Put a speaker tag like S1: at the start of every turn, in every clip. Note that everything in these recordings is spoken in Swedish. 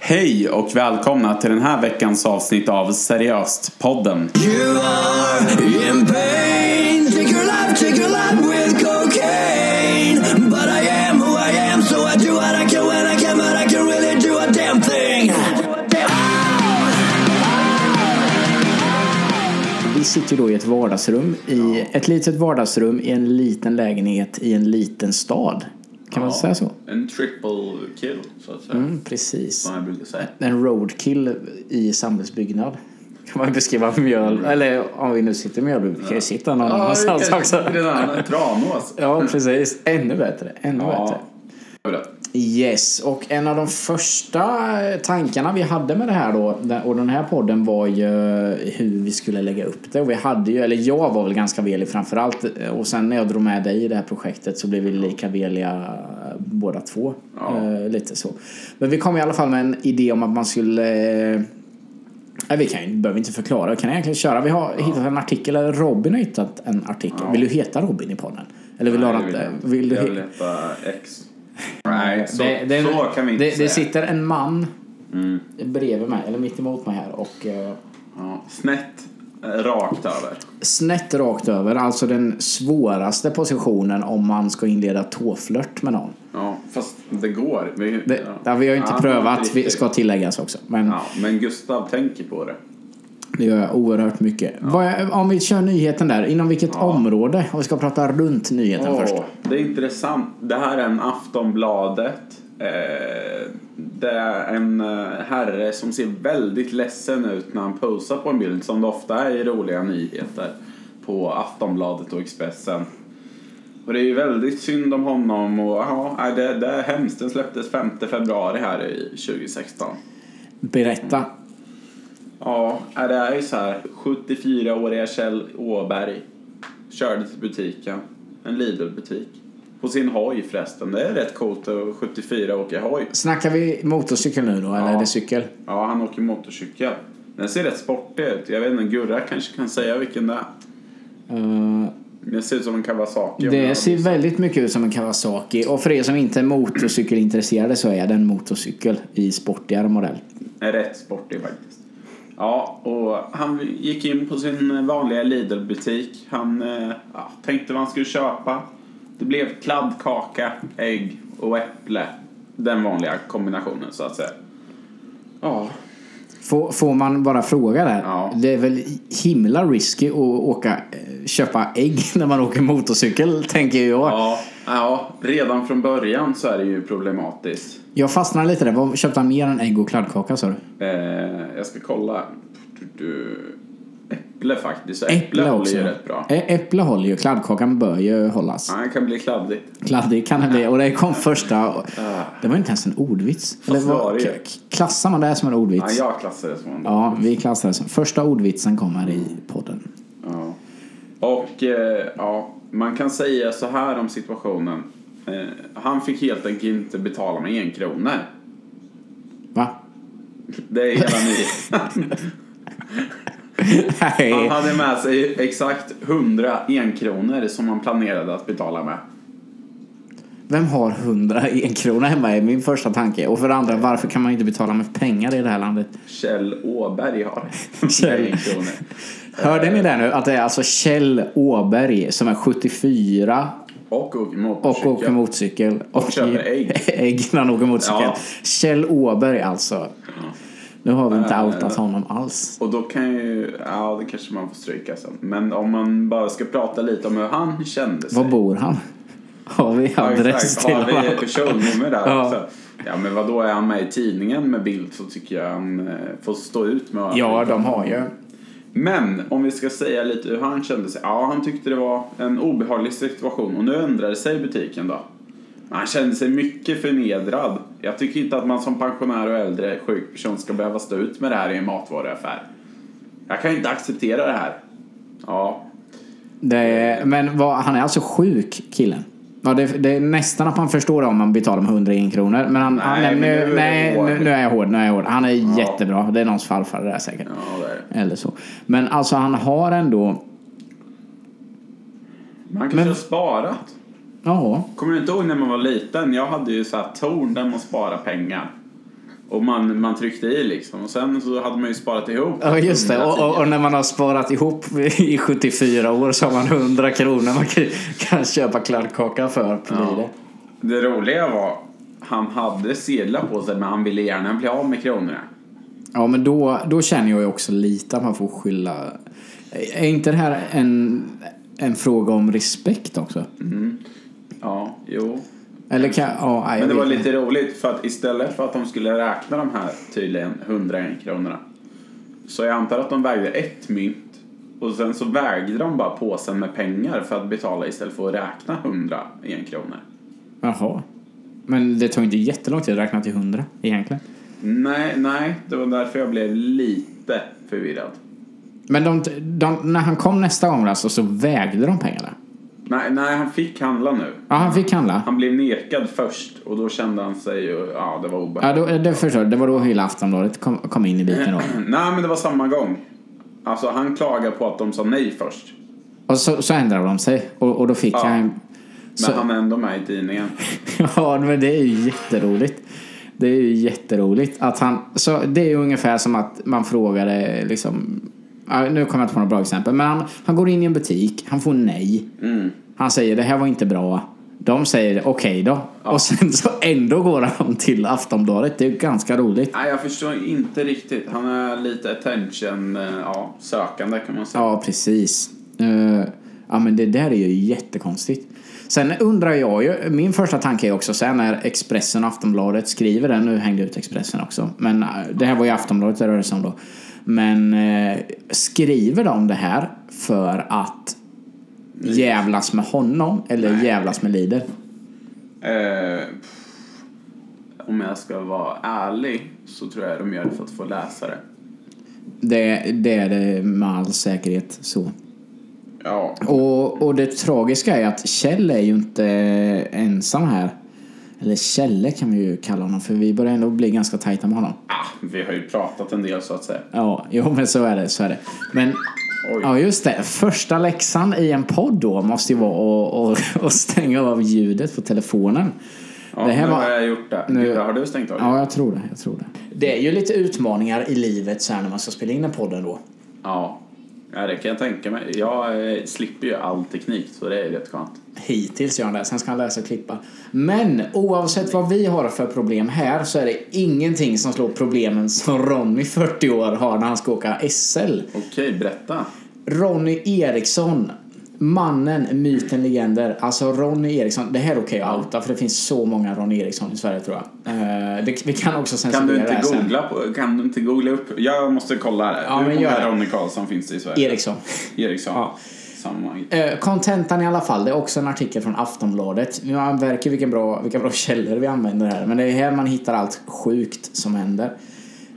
S1: Hej och välkomna till den här veckans avsnitt av Seriöst-podden.
S2: You are in pain. Take your life, take your life with cocaine. But I am who I am, so I do what I can when I can, but I can really do a damn thing.
S3: Vi sitter då i ett vardagsrum, i ett litet vardagsrum i en liten lägenhet i en liten stad. Kan man säga så?
S1: En triple kill, så att säga.
S3: Mm, precis.
S1: Som jag brukar säga.
S3: En roadkill i samhällsbyggnad. Kan man beskriva mjöl, eller om vi nu sitter i Mjölby, vi kan ju sitta någon annanstans också.
S1: Tranås.
S3: Ja, precis. Ännu bättre, ännu bättre.
S1: Ja.
S3: Yes, och en av de första eh, tankarna vi hade med det här då den- och den här podden var ju eh, hur vi skulle lägga upp det. Och vi hade ju, eller jag var väl ganska velig framförallt eh, och sen när jag drog med dig i det här projektet så blev vi lika veliga eh, båda två.
S1: Ja.
S3: Eh, lite så. Men vi kom i alla fall med en idé om att man skulle eh, Nej, vi kan, ju- behöver inte förklara, vi kan egentligen köra. Vi har hittat en artikel, eller Robin har hittat en artikel. Vill du heta Robin i podden? Eller vill du ha något, eh, vill du
S1: Jag
S3: he-
S1: vill heta X. Nej, så,
S3: det, det,
S1: så kan vi inte
S3: det,
S1: säga. Mm.
S3: det sitter en man bredvid mig, eller mitt emot mig här och eh,
S1: Ja, snett, eh, rakt över.
S3: snett rakt över, alltså den svåraste positionen om man ska inleda tåflört med någon.
S1: Ja, fast det går. Vi,
S3: Det,
S1: ja.
S3: där Vi har ju inte
S1: Ja,
S3: prövat, vi
S1: riktigt.
S3: ska tilläggas också. Men
S1: Ja, men Gustav tänker på det.
S3: det gör jag oerhört mycket. Vad- om vi kör nyheten där, inom vilket område? Om vi ska prata runt nyheten
S1: Åh,
S3: först.
S1: Det är intressant. Det här är en Aftonbladet. Eh, det är en eh, herre som ser väldigt ledsen ut när han posar på en bild som det ofta är i roliga nyheter på Aftonbladet och Expressen. Och det är ju väldigt synd om honom och ja, nej, det, det är hemskt. Den släpptes 5 februari här i 2016.
S3: Berätta.
S1: Ja, nej, det är ju så här. 74-åriga Kjell Åberg körde till butiken, en Lidl-butik. På sin hoj förresten. Det är rätt coolt att 74 åker hoj.
S3: Snackar vi motorcykel nu då, eller
S1: Ja.
S3: är det cykel?
S1: Ja, han åker motorcykel. Den ser rätt sportig ut. Jag vet inte, Gurra kanske kan säga vilken det är.
S3: Eh,
S1: Den ser ut som en Kawasaki. om
S3: Det
S1: jag-
S3: ser väldigt mycket ut som en Kawasaki och för er som inte är motorcykelintresserade så är det en motorcykel i sportigare modell.
S1: är rätt sportig faktiskt. Ja, och han gick in på sin vanliga Lidl-butik. Han eh, ja, tänkte vad han skulle köpa. Det blev kladdkaka, ägg och äpple. Den vanliga kombinationen så att säga. Ja,
S3: Får, får man bara fråga där?
S1: Ja.
S3: Det är väl himla risky att åka, eh, köpa ägg när man åker motorcykel tänker jag.
S1: ja, ja, redan från början så är det ju problematiskt.
S3: Jag fastnar lite där. Vad köpte han mer än ägg och kladdkaka sa du?
S1: Eh, jag ska kolla. Du, du, äpple faktiskt. Äpple,
S3: Äpple
S1: håller
S3: också.
S1: ju rätt bra.
S3: Ä- Äpple håller ju, kladdkakan bör ju hållas.
S1: Ja, det kan bli kladdigt.
S3: Kladdig kan det bli och det kom första. Det var inte ens en ordvits. Eller
S1: det var
S3: vad,
S1: det ju.
S3: k- klassar man det här som en ordvits?
S1: Ja, jag klassar det som en
S3: Ja, vi klassar det som. Första ordvitsen kommer i podden.
S1: Ja. Och eh, ja, man kan säga så här om situationen. Eh, han fick helt enkelt inte betala med en krona.
S3: Va?
S1: Det är hela nyheten. Han
S3: Nej.
S1: hade med sig exakt 100 enkronor som han planerade att betala med.
S3: Vem har 100 i en krona hemma är min första tanke. Och för det andra, varför kan man inte betala med pengar i det här landet?
S1: Kjell Åberg har
S3: Kjell.
S1: 100 enkronor.
S3: Hörde ni det nu? Att det är alltså Kjell Åberg som är 74
S1: Och åker
S3: och
S1: motorcykel.
S3: åker motorcykel.
S1: Och köper ägg.
S3: ägg när han åker motorcykel.
S1: Ja.
S3: Kjell Åberg alltså. Nu har vi inte
S1: Äh.
S3: outat honom alls.
S1: Och då kan ju, ja det kanske man får stryka sen. Men om man bara ska prata lite om hur han kände sig.
S3: Var bor han? Har vi
S1: Ja,
S3: adress
S1: exakt.
S3: till
S1: Har vi
S3: honom?
S1: personnummer där
S3: Ja.
S1: också? Ja, men vadå, är han med i tidningen med bild så tycker jag han eh, får stå ut med att-
S3: Ja, de har ju.
S1: Men om vi ska säga lite hur han kände sig. Ja, han tyckte det var en obehaglig situation och nu ändrade sig butiken då. Men han kände sig mycket förnedrad. Jag tycker inte att man som pensionär och äldre sjuk person ska behöva stå ut med det här i en matvaruaffär. Jag kan inte acceptera det här. Ja,
S3: Det är,
S1: Eh.
S3: men vad, han är alltså sjuk, killen. Ja, det, det är nästan att man förstår det om man betalar med 101 kronor. Men han, han
S1: Nej,
S3: nämner
S1: men
S3: ju-
S1: nu är
S3: nej,
S1: det hård.
S3: nu, nu är jag hård. Nu är jag hård. Han är jättebra. Det är någons farfar det där säkert.
S1: ja det är det.
S3: Eller så. Men alltså han har ändå...
S1: Man kanske har sparat.
S3: Ja.
S1: Kommer du inte ihåg när man var liten? Jag hade ju så här torn där man sparade pengar. Och man, man tryckte i liksom. Och sen så hade man ju sparat ihop.
S3: Ja, just det. Och, och, och när man har sparat ihop i 74 år så har man 100 kronor man kan, kan köpa kladdkaka för. På
S1: Ja.
S3: ja.
S1: Det roliga var, han hade sedlar på sig men han ville gärna bli av med kronorna.
S3: ja, men då, då känner jag ju också lite att man får skylla. Är inte det här en, en fråga om respekt också?
S1: Ja, jo.
S3: Eller kan, ja, nej, jag
S1: Men det
S3: vet
S1: var
S3: inte.
S1: lite roligt för att istället för att de skulle räkna de här tydligen 101 kronorna. Så jag antar att de vägde ett mynt. Och sen så vägde de bara påsen med pengar för att betala istället för att räkna 100 en kronor.
S3: Jaha. Men det tog inte jättelång tid att räkna till 100 egentligen.
S1: Nej, nej, det var därför jag blev lite förvirrad.
S3: Men de, de, när han kom nästa gång alltså, så vägde de pengarna.
S1: Nej, nej, han fick handla nu.
S3: Ja, han fick handla.
S1: Han blev nekad först och då kände han sig ju, ja det var
S3: Ja,
S1: obehagligt.
S3: då, eh, det förstår jag. Det var då hela Aftonbladet kom, kom in i biten då.
S1: Nej, men det var samma gång. Alltså han klagade på att de sa nej först.
S3: Och så, så ändrade de sig och, och då fick han...
S1: Men
S3: Så,
S1: han är ändå med i tidningen.
S3: ja, men det är ju jätteroligt. Det är ju jätteroligt att han... Så det är ju ungefär som att man frågade liksom... ja, Nu kommer jag inte på något bra exempel, men han, han går in i en butik, han får nej. Han säger det här var inte bra. De säger okej då. Och sen så ändå går han till Aftonbladet. Det är ju ganska roligt.
S1: Nej, jag förstår inte riktigt. Han är lite attention, eh, ja, sökande kan man säga.
S3: Ja, precis. Eh, ja, men det där är ju jättekonstigt. Sen undrar jag ju, min första tanke är också sen när Expressen och Aftonbladet skriver den, nu hängde jag ut Expressen också, men eh, det här var ju Aftonbladet det rörde sig om då. Men eh, skriver de det här för att jävlas med honom eller jävlas med Lider?
S1: Eh, pff, om jag ska vara ärlig så tror jag de gör det för att få läsare.
S3: Det, det är det med all säkerhet så.
S1: Ja,
S3: Och, och det tragiska är att Kjell är ju inte ensam här. Eller Kjelle kan vi ju kalla honom för vi börjar ändå bli ganska tajta med honom.
S1: ah, vi har ju pratat en del så att säga.
S3: Ja, jo men så är det, så är det. Men
S1: Oj.
S3: ja just det, första läxan i en podd då måste ju vara att- att- att stänga av ljudet på telefonen.
S1: Ja,
S3: det här
S1: nu
S3: var-
S1: har jag gjort det.
S3: nu-
S1: Gud, har du stängt av?
S3: Ja, jag tror det, jag tror det. Det är ju lite utmaningar i livet så här när man ska spela in en podden då.
S1: Ja. ja, det kan jag tänka mig. Jag eh, slipper ju all teknik så det är rätt skönt.
S3: Hittills gör han det, sen ska han lära sig klippa. Men oavsett vad vi har för problem här så är det ingenting som slår problemen som Ronny, 40 år, har när han ska åka SL.
S1: Okej, berätta.
S3: Ronny Eriksson, mannen, myten, legender. Alltså Ronny Eriksson, det här är okej att outa för det finns så många Ronny Eriksson i Sverige tror jag. Eh, det, vi kan också
S1: Kan du
S3: censurera det
S1: inte
S3: här sen.
S1: googla, på, kan du inte googla upp? Jag måste kolla det.
S3: Ja,
S1: Hur
S3: men
S1: många
S3: gör det.
S1: Ronny Karlsson finns det i Sverige?
S3: Eriksson.
S1: Eriksson.
S3: Ja.
S1: Samma.
S3: Eh, Kontentan i alla fall, det är också en artikel från Aftonbladet. Nu märker vilken bra, vilka bra källor vi använder här, men det är här man hittar allt sjukt som händer.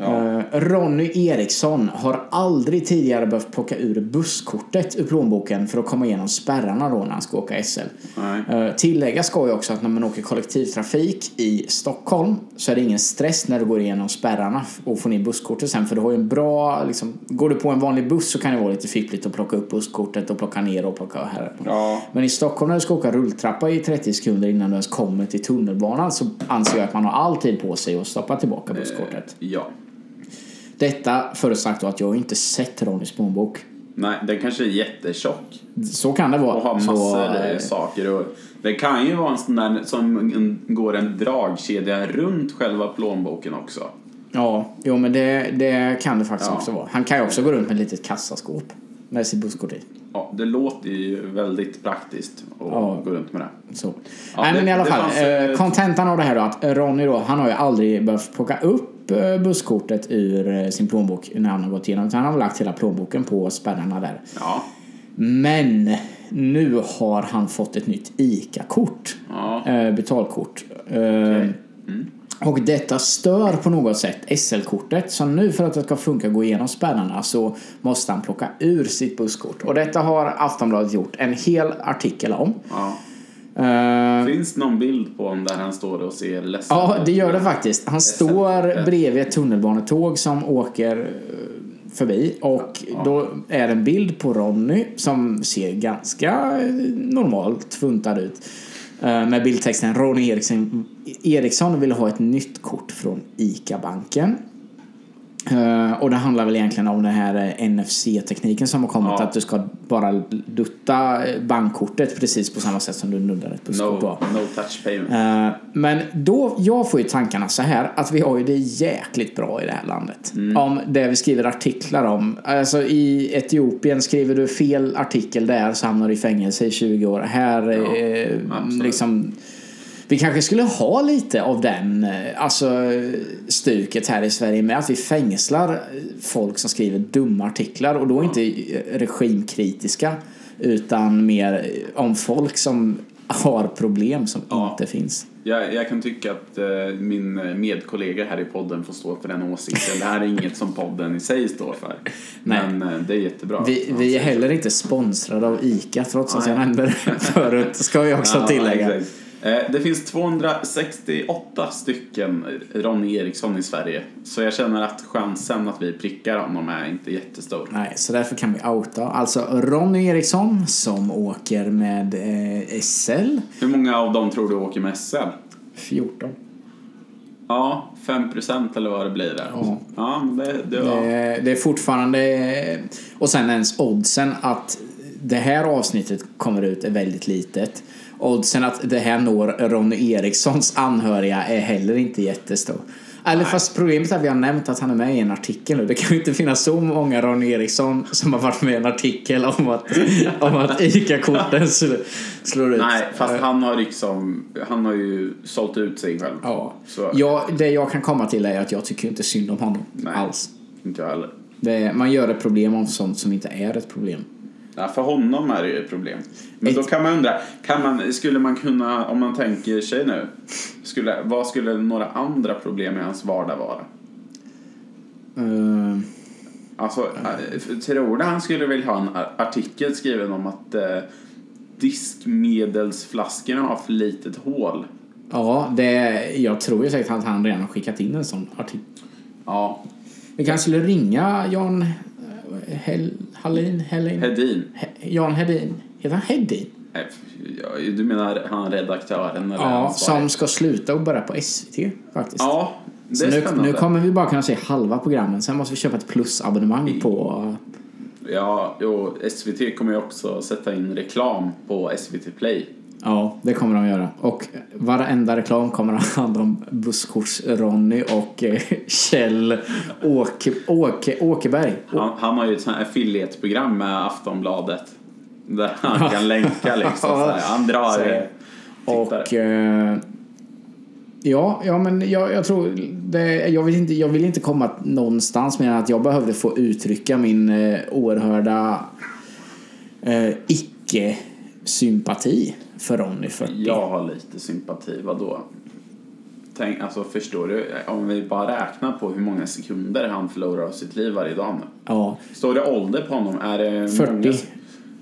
S3: Eh, Ronny Eriksson har aldrig tidigare behövt plocka ur busskortet ur plånboken för att komma igenom spärrarna då när han ska åka SL.
S1: Nej.
S3: Eh, Tillägga ska ju också att när man åker kollektivtrafik i Stockholm så är det ingen stress när du går igenom spärrarna och får ner busskortet sen för du har ju en bra, liksom, går du på en vanlig buss så kan det vara lite fippligt att plocka upp busskortet och plocka ner och plocka här.
S1: Ja.
S3: Men i Stockholm när du ska åka rulltrappa i 30 sekunder innan du ens kommer till tunnelbanan så anser jag att man har all tid på sig att stoppa tillbaka
S1: Eh.
S3: busskortet.
S1: Ja.
S3: Detta förutsatt då att jag inte sett Ronnys plånbok.
S1: Nej, den kanske är jättetjock
S3: Så kan det vara.
S1: och har
S3: Så,
S1: massor eh,
S3: eh,
S1: saker. Och det kan ju vara en sån där som en- går en dragkedja runt själva plånboken också.
S3: Ja, jo men det, det kan det faktiskt
S1: Ja.
S3: också vara. Han kan ju också gå runt med ett litet kassaskåp med sitt busskort i.
S1: Ja, det låter ju väldigt praktiskt att
S3: Ja.
S1: gå runt med det.
S3: Så.
S1: Ja,
S3: Nej
S1: det-
S3: men i alla
S1: det
S3: fall,
S1: fanns ett-
S3: eh, kontentan av det här då att eh, Ronny då, han har ju aldrig behövt plocka upp eh, busskortet ur eh, sin plånbok när han har gått igenom. Utan han har lagt hela plånboken på spärrarna där.
S1: Ja.
S3: Men nu har han fått ett nytt ICA-kort.
S1: Ja.
S3: Eh, betalkort. Eh, Och detta stör på något sätt SL-kortet. Så nu för att det ska funka gå igenom spärrarna så måste han plocka ur sitt busskort. Och detta har Aftonbladet gjort en hel artikel om.
S1: ja.
S3: Eh,
S1: Finns det någon bild på honom där han står och ser ledsen
S3: Ja,
S1: ut?
S3: det gör det faktiskt. Han står bredvid ett tunnelbanetåg som åker eh, förbi och då är det en bild på Ronny som ser ganska eh, normalt funtad ut. Eh, Med bildtexten Ronny Eriksson, Eriksson vill ha ett nytt kort från ICA-banken. Eh, och det handlar väl egentligen om den här eh, NFC-tekniken som har kommit.
S1: Ja.
S3: Att du ska bara dutta eh, bankkortet precis på samma sätt som du nuddar ett busskort
S1: No,
S3: på.
S1: no touch payment.
S3: Eh, Men då, jag får ju tankarna så här att vi har ju det jäkligt bra i det här landet.
S1: Mm.
S3: Om det vi skriver artiklar om. Alltså i Etiopien skriver du fel artikel där så hamnar du i fängelse i 20 år. Här eh,
S1: absolut.
S3: liksom. Vi kanske skulle ha lite av den, eh, alltså stuket här i Sverige med att vi fängslar folk som skriver dumma artiklar och då inte eh, regimkritiska utan mer eh, om folk som har problem som
S1: Ja.
S3: inte finns.
S1: Jag, jag kan tycka att eh, min medkollega här i podden får stå för den åsikten. Det här är inget som podden i sig står för.
S3: Nej.
S1: Men eh, det är jättebra.
S3: Vi,
S1: Ja.
S3: vi är heller inte sponsrade av ICA trots att
S1: Nej.
S3: jag nämnde det förut, ska jag också
S1: Ja,
S3: tillägga.
S1: exakt. Eh, Det finns 268 stycken Ronny Eriksson i Sverige. Så jag känner att chansen att vi prickar honom är inte jättestor.
S3: Nej, så därför kan vi outa. Alltså Ronny Eriksson som åker med eh, SL
S1: Hur många av dem tror du åker med SL?
S3: 14.
S1: Ja, 5% eller vad det blir där.
S3: Ja.
S1: Ja, det, det, ja.
S3: Eh, Det, det är fortfarande... eh, Och sen ens oddsen att det här avsnittet kommer ut är väldigt litet. Oddsen att det här når Ronny Erikssons anhöriga är heller inte jättestor. Eller fast problemet är att vi har nämnt att han är med i en artikel nu. Det kan ju inte finnas så många Ronny Eriksson som har varit med i en artikel om att, om att ICA-korten sl- slår ut. Eh,
S1: Nej, fast han har, liksom, han har ju sålt ut sig själv.
S3: Ja.
S1: Så-
S3: Ja, det jag kan komma till är att jag tycker ju inte synd om honom
S1: Nej.
S3: alls.
S1: Inte jag heller.
S3: Det, är- man gör ett problem om sånt som inte är ett problem.
S1: Ja, för honom är det ju ett problem. Men då
S3: Ett-
S1: kan man undra, kan man, skulle man kunna, om man tänker sig nu, skulle, vad skulle några andra problem i hans vardag vara?
S3: Eh,
S1: Alltså, eh, tror du han skulle vilja ha en ar- artikel skriven om att eh, diskmedelsflaskorna har för litet hål?
S3: ja, det, jag tror ju säkert att han redan har skickat in en sån artikel.
S1: Ja,
S3: Vi kanske skulle ringa Jan eh, Hell, Hallin, Hellin,
S1: Hedin.
S3: He- Jan Hedin. Heter han Hedin?
S1: Eh, ja, Du menar han redaktören? Eller
S3: Ja,
S1: ansvarig?
S3: som ska sluta och börja på SVT faktiskt.
S1: Ja, det
S3: Så
S1: är
S3: nu,
S1: spännande.
S3: nu kommer vi bara kunna se halva programmen, sen måste vi köpa ett plusabonnemang på...
S1: Ja, jo, SVT kommer ju också sätta in reklam på SVT Play.
S3: Ja, det kommer de göra. Och varenda reklam kommer att handla om busskorts-Ronny och eh, Kjell Åke, Åke, Åkerberg.
S1: Han, han har ju ett sånt här affiliate-program med Aftonbladet. Där han kan länka liksom. Så här. Han drar eh,
S3: Så.
S1: det.
S3: Och... Eh, ja, ja, men jag, jag tror... Det, jag, vill inte, jag vill inte komma någonstans med att jag behövde få uttrycka min eh, oerhörda eh, icke-sympati för Ronny 40.
S1: Jag har lite sympati, vadå? Tänk, alltså förstår du? Om vi bara räknar på hur många sekunder han förlorar av sitt liv varje dag nu.
S3: Ja,
S1: Står det ålder på honom? Är det
S3: 40.
S1: Många,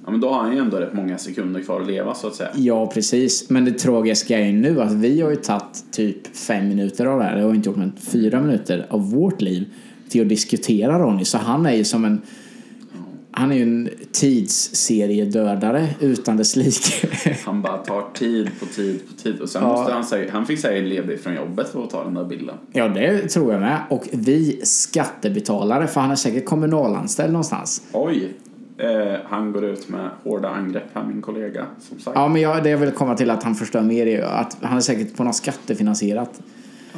S1: ja, men då har han ju ändå rätt många sekunder kvar att leva så att säga.
S3: ja, precis. Men det tragiska är ju nu att vi har ju tagit typ fem minuter av det här. Det har inte gjort men fyra minuter av vårt liv till att diskutera Ronny. Så han är ju som en... Han är ju en tidsseriedödare utan dess like.
S1: Han bara tar tid på tid på tid och sen
S3: Ja.
S1: måste han säga, han fick säga ledig från jobbet för att ta den där bilden.
S3: Ja, det tror jag med. Och vi skattebetalare, för han är säkert kommunalanställd någonstans.
S1: Oj! Eh, han går ut med hårda angrepp här, min kollega. Som sagt.
S3: Ja, men jag, det jag vill komma till att han förstör mer är ju att han är säkert på något skattefinansierat.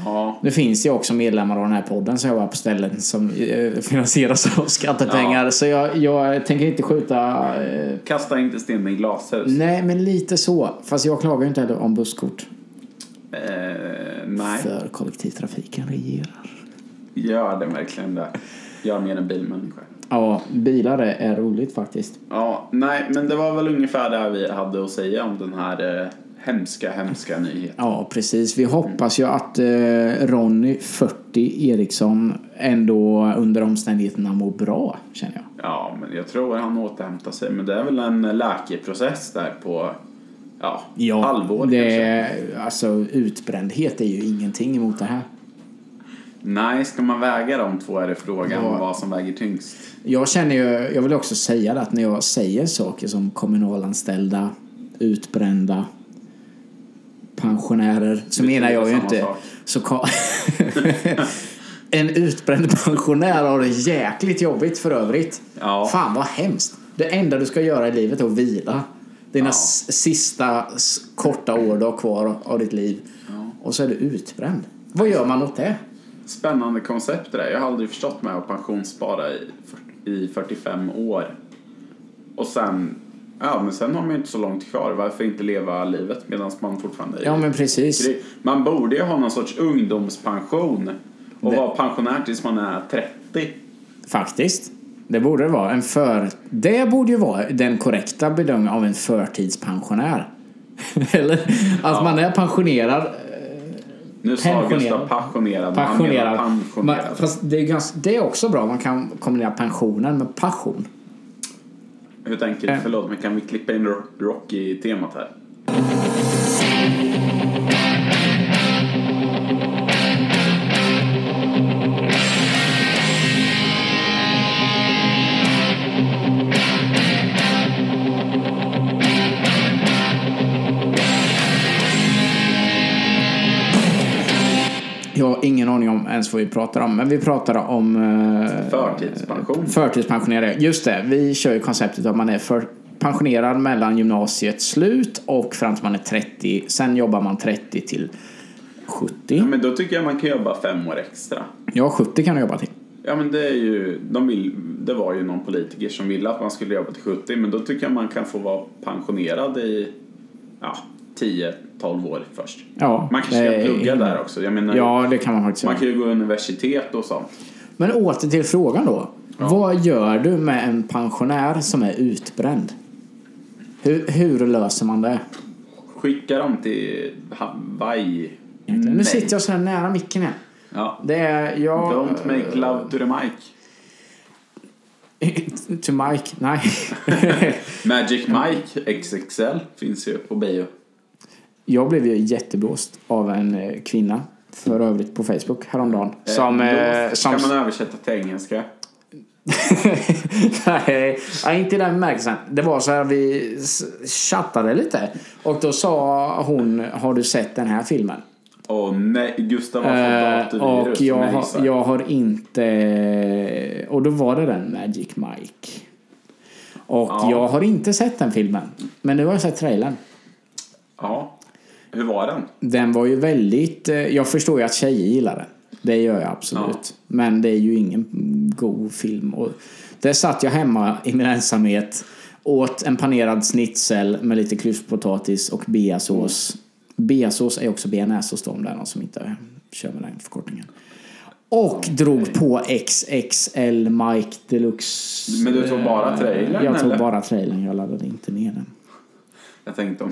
S1: Ja.
S3: Nu finns det ju också medlemmar av den här podden som jobbar på ställen som eh, finansieras av skattepengar. Så jag, jag tänker inte skjuta... Eh,
S1: Kasta inte sten i glashus.
S3: nej, men lite så. Fast jag klagar ju inte heller om busskort.
S1: Eh, nej,
S3: För kollektivtrafiken regerar.
S1: gör det verkligen det. Jag är mer en bilmänniska.
S3: Ja, bilar är- är roligt faktiskt.
S1: Ja, nej, men det var väl ungefär det vi hade att säga om den här eh, hemska, hemska nyheten.
S3: Ja, precis. Vi hoppas ju att eh, Ronny 40 Eriksson ändå under omständigheterna mår bra, känner jag.
S1: Ja, men jag tror han återhämtar sig. Men det är väl en läkeprocess där på ja, halvår
S3: det,
S1: kanske.
S3: är- Alltså, utbrändhet är ju ingenting emot det här.
S1: Nej, ska man väga de två är det frågan
S3: Ja.
S1: vad som väger tyngst.
S3: Jag känner ju, jag vill också säga det att när jag säger saker som kommunalanställda, utbrända, pensionärer så
S1: Betyder
S3: menar jag ju
S1: samma
S3: inte...
S1: sak.
S3: Så ka- en utbränd pensionär har det jäkligt jobbigt för övrigt.
S1: Ja.
S3: Fan vad hemskt. Det enda du ska göra i livet är att vila. Dina
S1: Ja.
S3: s- sista s- korta år du har kvar av ditt liv. Och så är du utbränd. Vad gör man åt det?
S1: Spännande koncept det där. Jag har aldrig förstått mig att pensionsspara i, fyrt- i 45 år. Och sen, ja men sen har man ju inte så långt kvar. Varför inte leva livet medan man fortfarande är
S3: Ja men precis.
S1: Det- Man borde ju ha någon sorts ungdomspension och
S3: Det-
S1: vara pensionär tills man är 30.
S3: Faktiskt. Det borde det vara. En för... Det borde ju vara den korrekta bedömningen av en förtidspensionär. Eller? Att man är pensionerad
S1: Nu sa
S3: Pensionerad.
S1: Gustav passionerad, men han menar
S3: Passionerad.
S1: pensionerad.
S3: Man, fast det är, ganska, det är också bra. Man kan kombinera pensionen med passion.
S1: Hur tänker
S3: Eh.
S1: du? Förlåt, men kan vi klippa in Ro- Rocky-temat här?
S3: Jag har ingen aning om ens vad vi pratar om, men vi pratar om eh,
S1: Förtidspension.
S3: förtidspensionerade. Just det, vi kör ju konceptet att man är för pensionerad mellan gymnasiets slut och fram till man är 30. Sen jobbar man 30 till 70.
S1: Ja, men då tycker jag man kan jobba fem år extra.
S3: Ja, 70 kan du jobba till.
S1: Ja, men det är ju, de vill, det var ju någon politiker som ville att man skulle jobba till 70, men då tycker jag man kan få vara pensionerad i ja, 10-12 år först.
S3: Ja,
S1: Man kanske
S3: det
S1: kan
S3: är-
S1: plugga där också. Jag menar,
S3: Ja, det kan man faktiskt
S1: man
S3: göra.
S1: kan ju gå universitet och sånt.
S3: Men åter till frågan då. Vad gör du med en pensionär som är utbränd? Hur, hur löser man det?
S1: Skicka dem till Hawaii.
S3: Nu sitter jag så här nära micken här.
S1: Ja.
S3: Det är jag...
S1: Don't make love to the mic.
S3: To Mike, nej.
S1: Magic Mike XXL finns ju på bio.
S3: jag blev ju jätteblåst av en eh, kvinna, för övrigt på Facebook häromdagen. Som...
S1: Eh,
S3: Eh,
S1: blåst
S3: som
S1: Kan man översätta till engelska?
S3: nej, nej, inte i den bemärkelsen. Det var så här, vi s- chattade lite. Och då sa hon, har du sett den här filmen?
S1: Åh nej, Gustav har
S3: Eh,
S1: fått datavirus.
S3: och jag,
S1: som
S3: har-
S1: gissar.
S3: jag har inte... Och då var det den Magic Mike. Och
S1: Ja.
S3: jag har inte sett den filmen. Men nu har jag sett trailern.
S1: Ja. Hur var den?
S3: Den var ju väldigt... eh, Jag förstår ju att tjejer gillar den. Det gör jag absolut. Men det är ju ingen god film. Och där satt jag hemma i min ensamhet. Åt en panerad schnitzel med lite klyftpotatis och beasås. Beasås är också bearnaisesås då om det är någon som inte kör med den förkortningen. Och drog på XXL Mike Deluxe.
S1: Men du tog bara trailern,
S3: Jag tog
S1: eller?
S3: bara trailern, jag laddade inte ner den.
S1: Jag tänkte om...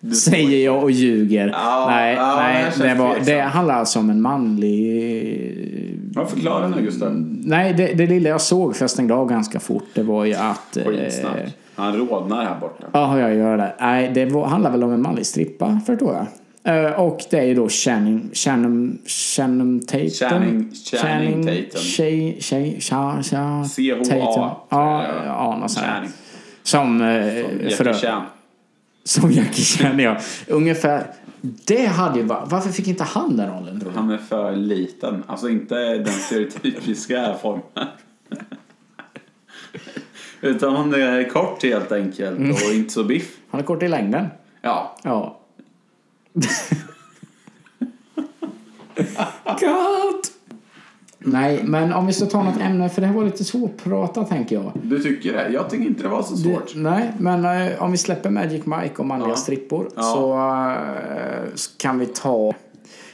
S1: Du
S3: Säger jag och ljuger.
S1: Ja,
S3: nej,
S1: ja, det
S3: nej
S1: känns
S3: det, var, det
S1: tveksamt.
S3: handlar alltså om en manlig...
S1: Ja, förklara nu Gustav.
S3: Nej, det, det lilla jag såg, för jag stängde av ganska fort, det var ju att... eh,
S1: Skitsnack. Han rodnar här borta.
S3: Ja, jag gör det. Nej, det var, handlar väl om en manlig strippa, förstår jag. Eh, och det är ju då Channing... Channing... Channing Tatum?
S1: Channing- Channing Tatum.
S3: Tjej... Tjej... Tja... Tja...
S1: CHA,
S3: Tatum. Ja,
S1: tror jag.
S3: ja, något sånt här.
S1: Channing.
S3: Som... eh, för-
S1: Jackie Chan.
S3: Som Jackie Chan, ja. Ungefär. Det hade ju varit... Varför fick inte han den rollen, tror du?
S1: Han är för liten. Alltså inte den stereotypiska formen. Utan han är kort helt enkelt
S3: Mm.
S1: och inte så biff.
S3: Han är kort i längden.
S1: Ja.
S3: Ja. God! Nej, men om vi ska ta något ämne, för det här var lite svårpratat, tänker jag.
S1: Du tycker det? Jag tycker inte det var så svårt.
S3: Det, nej, men eh, om vi släpper Magic Mike och manliga
S1: Ja.
S3: strippor
S1: Ja.
S3: så eh, s- kan vi ta...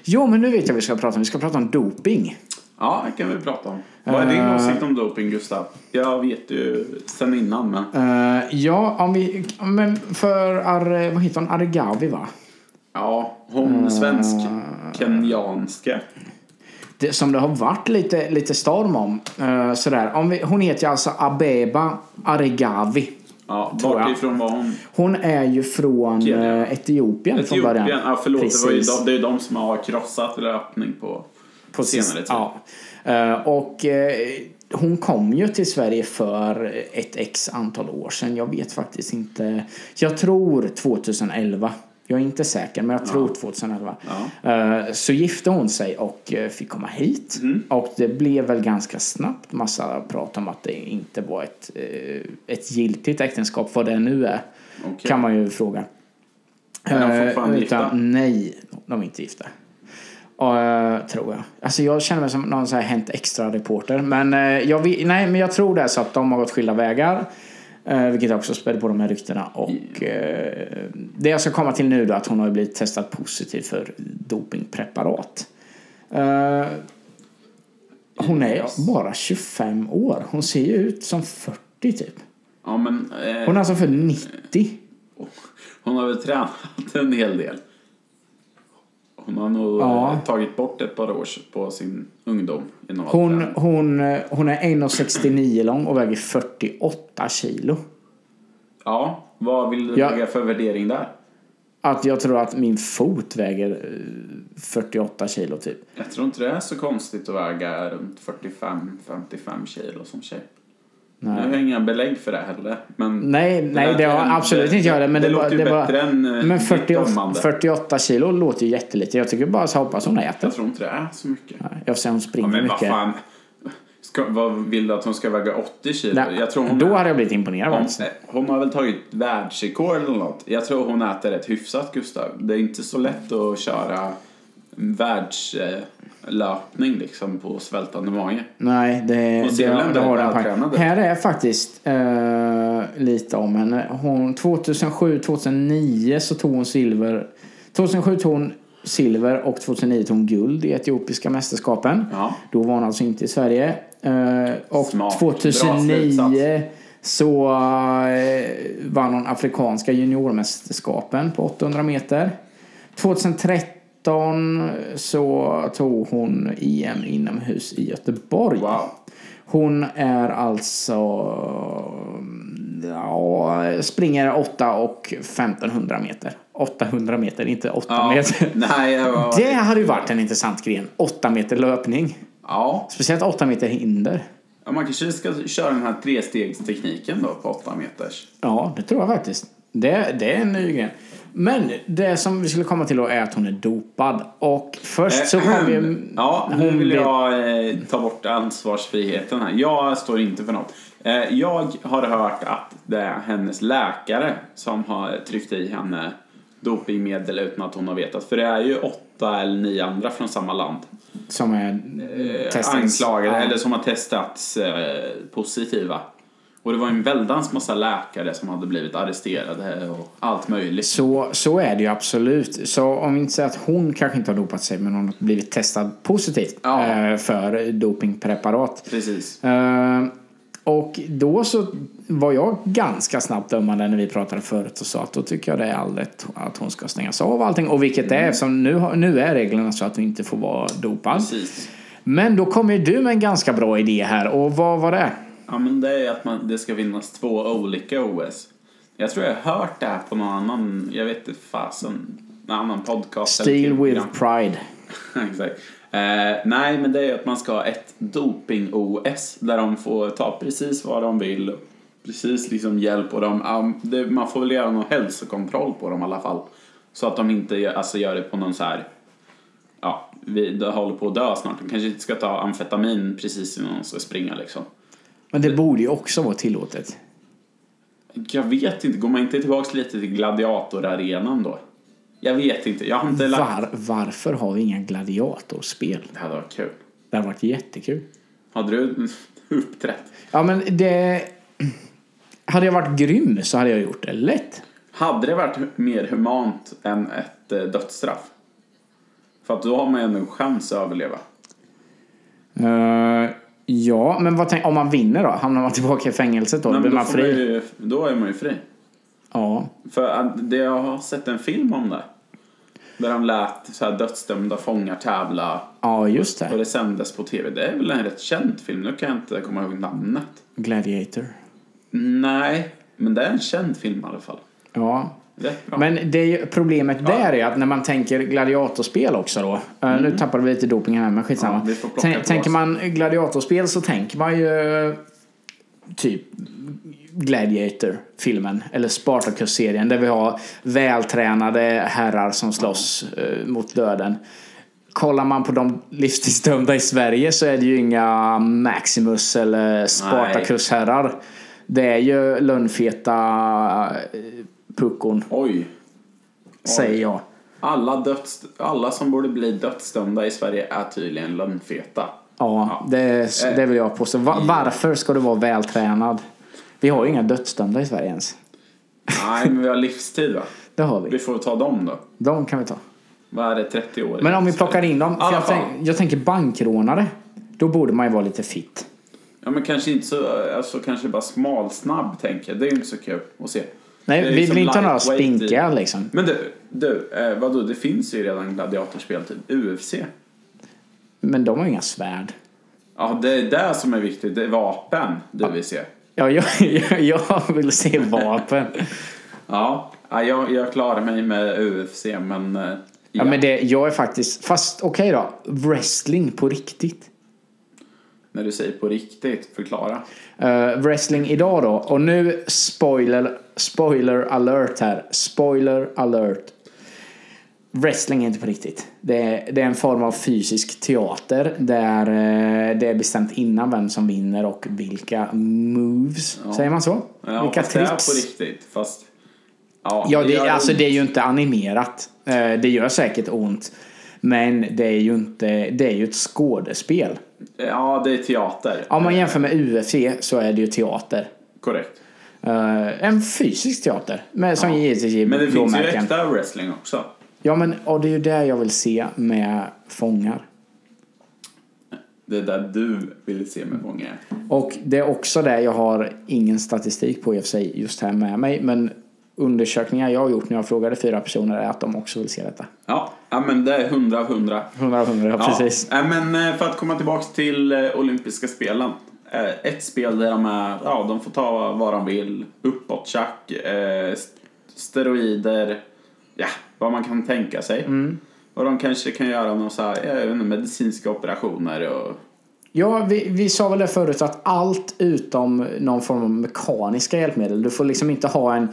S3: Jo, men nu vet jag vad vi ska prata om. Vi ska prata om doping.
S1: Ja, det kan vi prata om. Vad är din
S3: Eh.
S1: åsikt om doping, Gustav? Jag vet ju sen innan, men...
S3: Eh, ja, om vi... Men för... Ar, vad heter hon? Arigavi, va?
S1: Ja,
S3: Mm.
S1: hon svensk-kenyanska.
S3: det, som det har varit lite, lite storm om. eh, sådär. om vi, hon heter ju alltså Abeba Aregawi.
S1: Ja,
S3: Tror jag.
S1: vart ifrån var hon?
S3: Hon är ju från
S1: Kenya.
S3: eh, Etiopien, från
S1: Etiopien?
S3: början.
S1: Ja, förlåt. Det, var ju
S3: Precis.
S1: de, det är ju de som har krossat löpning på, på senare tid.
S3: Ja. Eh, och eh, hon kom ju till Sverige för ett x antal år sedan. Jag vet faktiskt inte. Jag tror 2011. Jag är inte säker, men jag tror 2011.
S1: Ja. Mhm.
S3: Eh, Så gifte hon sig och eh, fick komma hit. Och det blev väl ganska snabbt massa prat om att det inte var ett, eh, ett giltigt äktenskap, vad det nu är.
S1: Okej.
S3: Kan man ju fråga.
S1: Är de
S3: Eh,
S1: fortfarande gifta?
S3: Nej, de är inte gifta. Eh, tror jag. Alltså jag känner mig som någon så här Hänt Extra-reporter. Men, eh, jag vi- nej, men jag tror det är så att de har gått skilda vägar. eh, vilket också spädde på de här ryktena. Och, eh, det jag ska komma till nu då att hon har ju blivit testad positiv för dopingpreparat. Eh, hon är
S1: Yes.
S3: bara 25 år. Hon ser ju ut som 40 typ.
S1: Ja, men... Eh,
S3: Hon är alltså för 90.
S1: Hon har väl tränat en hel del. Hon har nog
S3: Ja.
S1: eh, tagit bort ett par år på sin ungdom. Genom att
S3: Hon,
S1: träna.
S3: hon, eh, hon är 1,69 lång och väger 48 kilo.
S1: Ja, vad vill du
S3: Ja.
S1: lägga för värdering där?
S3: Att jag tror att min fot väger eh, 48 kilo typ.
S1: Jag tror inte det är så konstigt att väga runt 45-55 kilo som tjej. Jag har inga belägg för det heller. Men
S3: Nej,
S1: men
S3: nej
S1: att
S3: det har
S1: en-
S3: absolut inte jag det. Men det,
S1: låter
S3: bara-
S1: ju
S3: det bara-
S1: bättre än eh,
S3: Men
S1: ditt
S3: 48,
S1: dömande.
S3: 48 kilo låter ju jättelite. Jag tycker bara så hoppas hon äter.
S1: Jag tror inte det är så mycket.
S3: Jag får se hon
S1: Ja,
S3: springer
S1: men vad
S3: mycket.
S1: fan. Ska, vad vill du att hon ska väga 80 kilo?
S3: Nej,
S1: jag tror hon
S3: då hade jag blivit imponerad
S1: Hon,
S3: faktiskt.
S1: hon har väl tagit världsrekord eller något. Jag tror hon äter rätt hyfsat, Gustav. Det är inte så lätt att köra världslöpning liksom på svältande mage.
S3: Nej, det,
S1: Hon
S3: det,
S1: ser väl
S3: det,
S1: ändå
S3: har den
S1: vältränad
S3: faktiskt.
S1: ut.
S3: Här är faktiskt eh, lite om henne. Hon, 2007, 2009 så tog hon silver. 2007 tog hon silver och 2009 tog hon guld i etiopiska mästerskapen.
S1: Ja.
S3: Då var hon alltså inte i Sverige. Eh, och
S1: Smart. Bra
S3: 2009
S1: slutsats.
S3: så eh, vann hon afrikanska juniormästerskapen på 800 meter. 2013 så tog hon EM inomhus i Göteborg.
S1: Wow.
S3: Hon är alltså... Ja, springer 8 och 1500 meter. 800 meter, inte 8
S1: Ja.
S3: meter.
S1: Nej, jag var...
S3: Det hade ju varit en intressant gren. 8 meter löpning.
S1: Ja.
S3: Speciellt 8 meter hinder.
S1: Ja, Man kanske ska köra den här trestegstekniken då på 8 meters.
S3: Ja, det tror jag faktiskt. Det, det är en ny gren. Men det som vi skulle komma till då är att hon är dopad. Och först så kom vi...
S1: Eh, Ja, nu
S3: hon
S1: vill
S3: blev-
S1: jag eh, ta bort ansvarsfriheten här. Jag står inte för något. Eh, jag har hört att det är hennes läkare som har tryckt i henne dopingmedel utan att hon har vetat. För det är ju åtta eller nio andra från samma land.
S3: Som är
S1: Eh,
S3: testades.
S1: Anklagade,
S3: Ja.
S1: eller som har testats eh, positiva. Och det var en väldans massa läkare som hade blivit arresterade och allt möjligt.
S3: Så, så är det ju absolut. Så om vi inte säger att hon kanske inte har dopat sig men hon har blivit testad positivt
S1: Ja.
S3: eh, för dopingpreparat.
S1: Precis.
S3: Eh, och då så var jag ganska snabbt dömande när vi pratade förut och sa att då tycker jag det är all rätt att hon ska stängas av och allting. Och vilket det är eftersom nu, har- nu är reglerna så att hon inte får vara dopad.
S1: Precis.
S3: Men då kommer ju du med en ganska bra idé här och vad var det?
S1: Ja, men det är att man, det ska finnas två olika OS. Jag tror jag har hört det här på någon annan, jag vet inte fasen, någon annan podcast. eller
S3: Steel
S1: program.
S3: with pride.
S1: Exakt. Eh, nej, men det är ju att man ska ha ett doping-OS där de får ta precis vad de vill. Precis liksom hjälp och de, ja, det, man får väl göra någon hälsokontroll på dem i alla fall. Så att de inte gör, alltså, gör det på någon så här, ja, vi de håller på att dö snart. De kanske inte ska ta amfetamin precis innan de ska springa liksom.
S3: Men det borde ju också vara tillåtet.
S1: Jag vet inte, går man inte tillbaks lite till gladiatorarenan då? Jag vet inte, jag har inte lagt...
S3: Var, varför har vi inga gladiatorspel?
S1: Det hade varit kul.
S3: Det har varit jättekul.
S1: Hade du uppträtt?
S3: Ja, men det... Hade jag varit grym så hade jag gjort det lätt.
S1: Hade det varit mer humant än ett eh, dödsstraff? För att då har man ju ändå en chans att överleva.
S3: Eh, ja, men vad tänk, om man vinner då? Hamnar man tillbaka i fängelset då?
S1: Nej, men
S3: blir
S1: då,
S3: man
S1: får man
S3: fri?
S1: ju, då är man ju fri.
S3: Ja.
S1: För att det, jag har sett en film om det. Där de lät så här dödsdömda fångar tävla
S3: ja, just
S1: och
S3: det.
S1: det sändes på tv. Det är väl en rätt känd film, nu kan jag inte komma ihåg namnet.
S3: Gladiator.
S1: Nej, men det är en känd film i alla fall.
S3: Ja.
S1: Rätt bra.
S3: Men det är ju, problemet där är ju att när man tänker gladiatorspel också då. eh,
S1: Mm.
S3: Nu tappade vi lite dopingen här men skitsamma.
S1: Ja, vi får plocka
S3: Tän-
S1: tillbaks.
S3: tänker man gladiatorspel så tänker man ju typ Gladiator-filmen eller Spartacus-serien där vi har vältränade herrar som slåss eh, mot döden. Kollar man på de livstidsdömda i Sverige så är det ju inga Maximus eller Spartacus-herrar. Det är ju lönnfeta eh, puckon,
S1: Oj.
S3: säger jag.
S1: Alla, döds, alla som borde bli dödsdömda i Sverige är tydligen lönnfeta.
S3: Ja, det, det vill jag påstå.
S1: Mm.
S3: Va- Varför ska du vara vältränad? Vi har ju inga dödsdömda i Sverige ens.
S1: Nej, men vi har livstid va?
S3: Det har
S1: Vi
S3: vi.
S1: får ta dem då.
S3: De kan vi ta.
S1: Vad är det, 30 år?
S3: Men om vi plockar in dem. För
S1: Alla
S3: jag,
S1: fall.
S3: tänk, jag tänker bankrånare. Då borde man ju vara lite fit.
S1: Ja, men kanske inte så, alltså kanske bara smalsnabb tänker jag. Det är ju inte så kul att se.
S3: Nej,
S1: Det är
S3: vi
S1: liksom
S3: vill inte ha några
S1: lightweight i-
S3: spinkiga liksom.
S1: Men du, du eh, vadå, det finns ju redan gladiatorspel, typ UFC.
S3: Men de har ju inga svärd.
S1: Ja, det är det som är viktigt. Det är vapen du vill se.
S3: Ja, jag, jag, jag vill se vapen.
S1: Ja, ja, jag, jag klarar mig med UFC, men... eh,
S3: Ja, men det, jag är faktiskt... Fast okej då. Wrestling på riktigt.
S1: När du säger på riktigt, förklara.
S3: Eh, wrestling idag då. Och nu spoiler, spoiler alert här. Spoiler alert. Wrestling är inte på riktigt. Det är, det är en form av fysisk teater där eh, det är bestämt innan vem som vinner och vilka moves. Säger man så?
S1: Ja,
S3: vilka
S1: fast det är
S3: tricks.
S1: på riktigt, fast... Ja,
S3: Ja, det,
S1: gör
S3: alltså
S1: ont.
S3: det är ju inte animerat. Eh, Det gör säkert ont. Men det är ju inte, det är ju ett skådespel.
S1: Ja, det är teater.
S3: Om man jämför med UFC så är det ju teater.
S1: Korrekt.
S3: Eh, en fysisk teater. Men som givetvis ger
S1: Men det finns ju
S3: blåmärken.
S1: äkta wrestling också.
S3: Ja, men och det är ju det jag vill se med fångar.
S1: Det är där du vill se med fångar.
S3: Och det är också det jag har ingen statistik på i och för sig just här med mig. Men undersökningar jag har gjort när jag frågade fyra personer är att de också vill se detta.
S1: Ja, ja, men det är hundra av hundra.
S3: 100 av 100, ja.
S1: Ja,
S3: precis.
S1: eh, men eh, för att komma tillbaka till eh, olympiska spelen. Eh, Ett spel där de, är, ja, de får ta vad de vill, uppåttjack, eh, st- steroider, ja, vad man kan tänka sig.
S3: Mm.
S1: Och de kanske kan göra några så här, jag vet inte, medicinska operationer och...
S3: Ja, vi, vi sa väl det förut att allt utom någon form av mekaniska hjälpmedel. Du får liksom inte ha en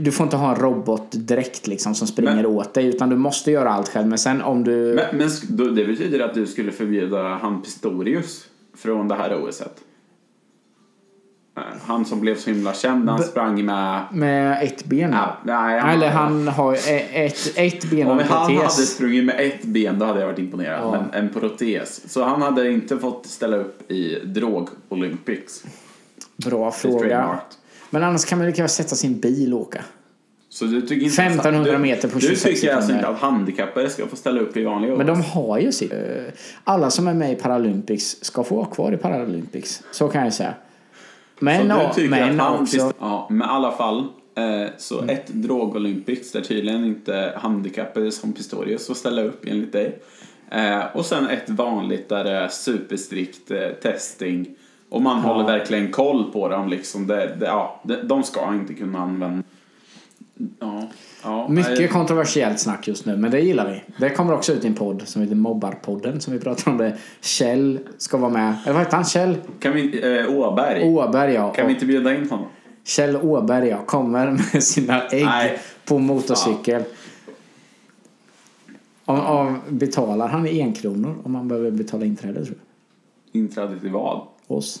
S3: du får inte ha en robotdräkt liksom som springer
S1: Men-
S3: åt dig utan du måste göra allt själv. Men sen om du...
S1: Men, men sk- då- det betyder att du skulle förbjuda han Pistorius från det här OSet? Eh, Han som blev så himla känd, han sprang med...
S3: Med ett ben?
S1: Ja, nej, han-
S3: Eller han har e- ett, ett ben och
S1: Om
S3: en
S1: han hade
S3: protes.
S1: sprungit med ett ben då hade jag varit imponerad.
S3: Ja.
S1: Men en protes. Så han hade inte fått ställa upp i drog-olympics.
S3: Bra fråga.
S1: trademark.
S3: Men annars kan man lika väl sätta sin bil och åka.
S1: Så du tycker inte
S3: 1500 meter på
S1: du, du
S3: 26
S1: tycker alltså
S3: sekunder.
S1: inte att handikappade ska få ställa upp i vanliga
S3: Men
S1: OS?
S3: de har ju sitt. Eh, Alla som är med i Paralympics ska få vara kvar i Paralympics. Så kan jag säga. Men,
S1: Så
S3: ja,
S1: du tycker
S3: men
S1: att han
S3: också...
S1: Ja, men i alla fall. Eh, så
S3: Mm.
S1: ett drog-olympics där tydligen inte handikappade som Pistorius får ställa upp enligt dig. Eh, och sen ett vanligt där det är superstrikt eh, testing. Och man håller verkligen koll på dem liksom. Det, det, ja, det, de ska inte kunna använda. Ja, ja, nej.
S3: Mycket kontroversiellt snack just nu, men det gillar vi. Det kommer också ut i en podd som heter Mobbarpodden som vi pratar om det. Kjell ska vara med. Eller vad heter han? Kjell
S1: Kan vi, eh, Åberg.
S3: Åberg ja.
S1: Kan
S3: Och-
S1: vi inte bjuda in honom?
S3: Kjell Åberg ja, kommer med sina ägg
S1: Nej.
S3: på motorcykel. Om, om, betalar han i enkronor om man behöver betala inträde tror
S1: Inträde till vad?
S3: jag? Oss.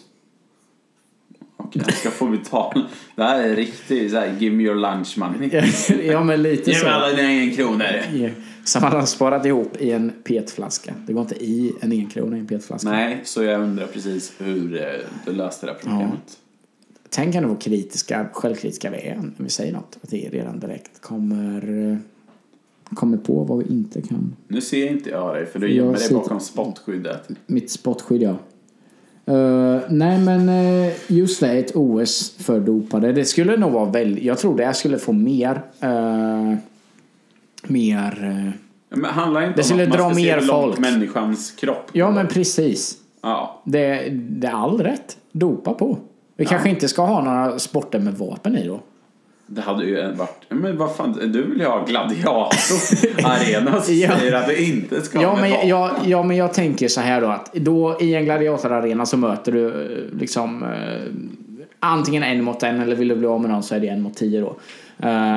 S1: Okej, jag ska få betala. Det här är riktigt så här, give me your lunch money.
S3: ja men lite
S1: Ge mig
S3: så.
S1: alla dina en kronor.
S3: Som han har sparat ihop i en petflaska. Det går inte i en enkrona i en petflaska.
S1: Nej, så jag undrar precis hur eh, du löste det här problemet.
S3: Tänk ändå hur kritiska, självkritiska vi är när vi säger något. Att det redan direkt kommer, eh, kommer på vad vi inte kan.
S1: Nu ser inte jag dig för du
S3: Jag
S1: gömmer dig
S3: sitter-
S1: bakom spottskyddet.
S3: Mitt spottskydd, ja. Eh, nej, men eh, just det, ett OS för dopade. Det skulle nog vara väldigt... Jag tror det här skulle få mer... eh, mer... eh,
S1: Ja, Men handlar inte
S3: Det
S1: om
S3: skulle
S1: att man
S3: dra
S1: ska se
S3: mer
S1: hur långt
S3: folk.
S1: människans kropp
S3: ja, men precis.
S1: Ja.
S3: Det, det är all rätt. Dopa på. Vi kanske inte ska ha några sporter med vapen i då.
S1: Det hade ju varit... Men vad fan, du vill ju ha gladiatorarena som
S3: Ja.
S1: säger att det inte ska
S3: Ja men,
S1: vara-
S3: jag, ja, men jag tänker så här då att då i en gladiatorarena så möter du eh, liksom eh, antingen en mot en eller vill du bli av med någon så är det en mot tio då. Eh,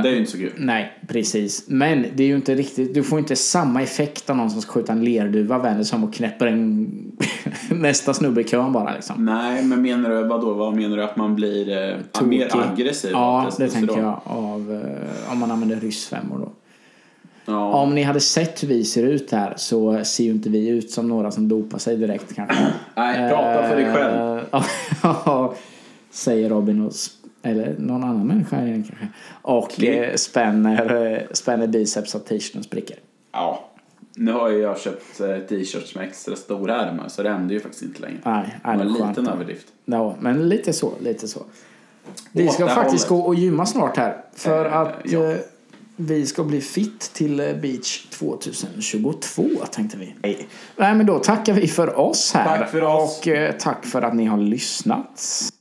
S1: Det är ju inte så kul.
S3: Nej, precis. Men det är ju inte riktigt, du får inte samma effekt av någon som ska skjuta en lerduva vänder sig om och knäpper en nästa snubbe i kön bara liksom.
S1: Nej, men menar du vadå? Vad menar du att man blir eh,
S3: Tokig.
S1: mer aggressiv? av
S3: Ja, det
S1: testosteron?
S3: tänker jag av, eh, om man använder ryssfemmor då.
S1: Ja.
S3: Om ni hade sett hur vi ser ut här så ser ju inte vi ut som några som dopar sig direkt kanske.
S1: Nej, prata för dig själv.
S3: Eh, ja, säger Robin och sp- eller någon annan människa är det kanske. Och
S1: Klipp.
S3: eh, spänner, eh, spänner biceps så att t-shirten spricker.
S1: Ja. Nu har ju jag köpt eh, t-shirts med extra stora ärmar så det händer ju faktiskt inte längre.
S3: Nej,
S1: det
S3: nej,
S1: var en
S3: det är
S1: liten
S3: skönt.
S1: överdrift.
S3: Ja, men lite så, lite så. Vi
S1: Åt
S3: ska
S1: det
S3: faktiskt
S1: hållet.
S3: gå och gymma snart här för
S1: Eh,
S3: att
S1: ja.
S3: eh, vi ska bli fit till eh, Beach 2022 tänkte vi. Nej, men då tackar vi för oss här.
S1: Tack för oss.
S3: Och eh, tack för att ni har lyssnat.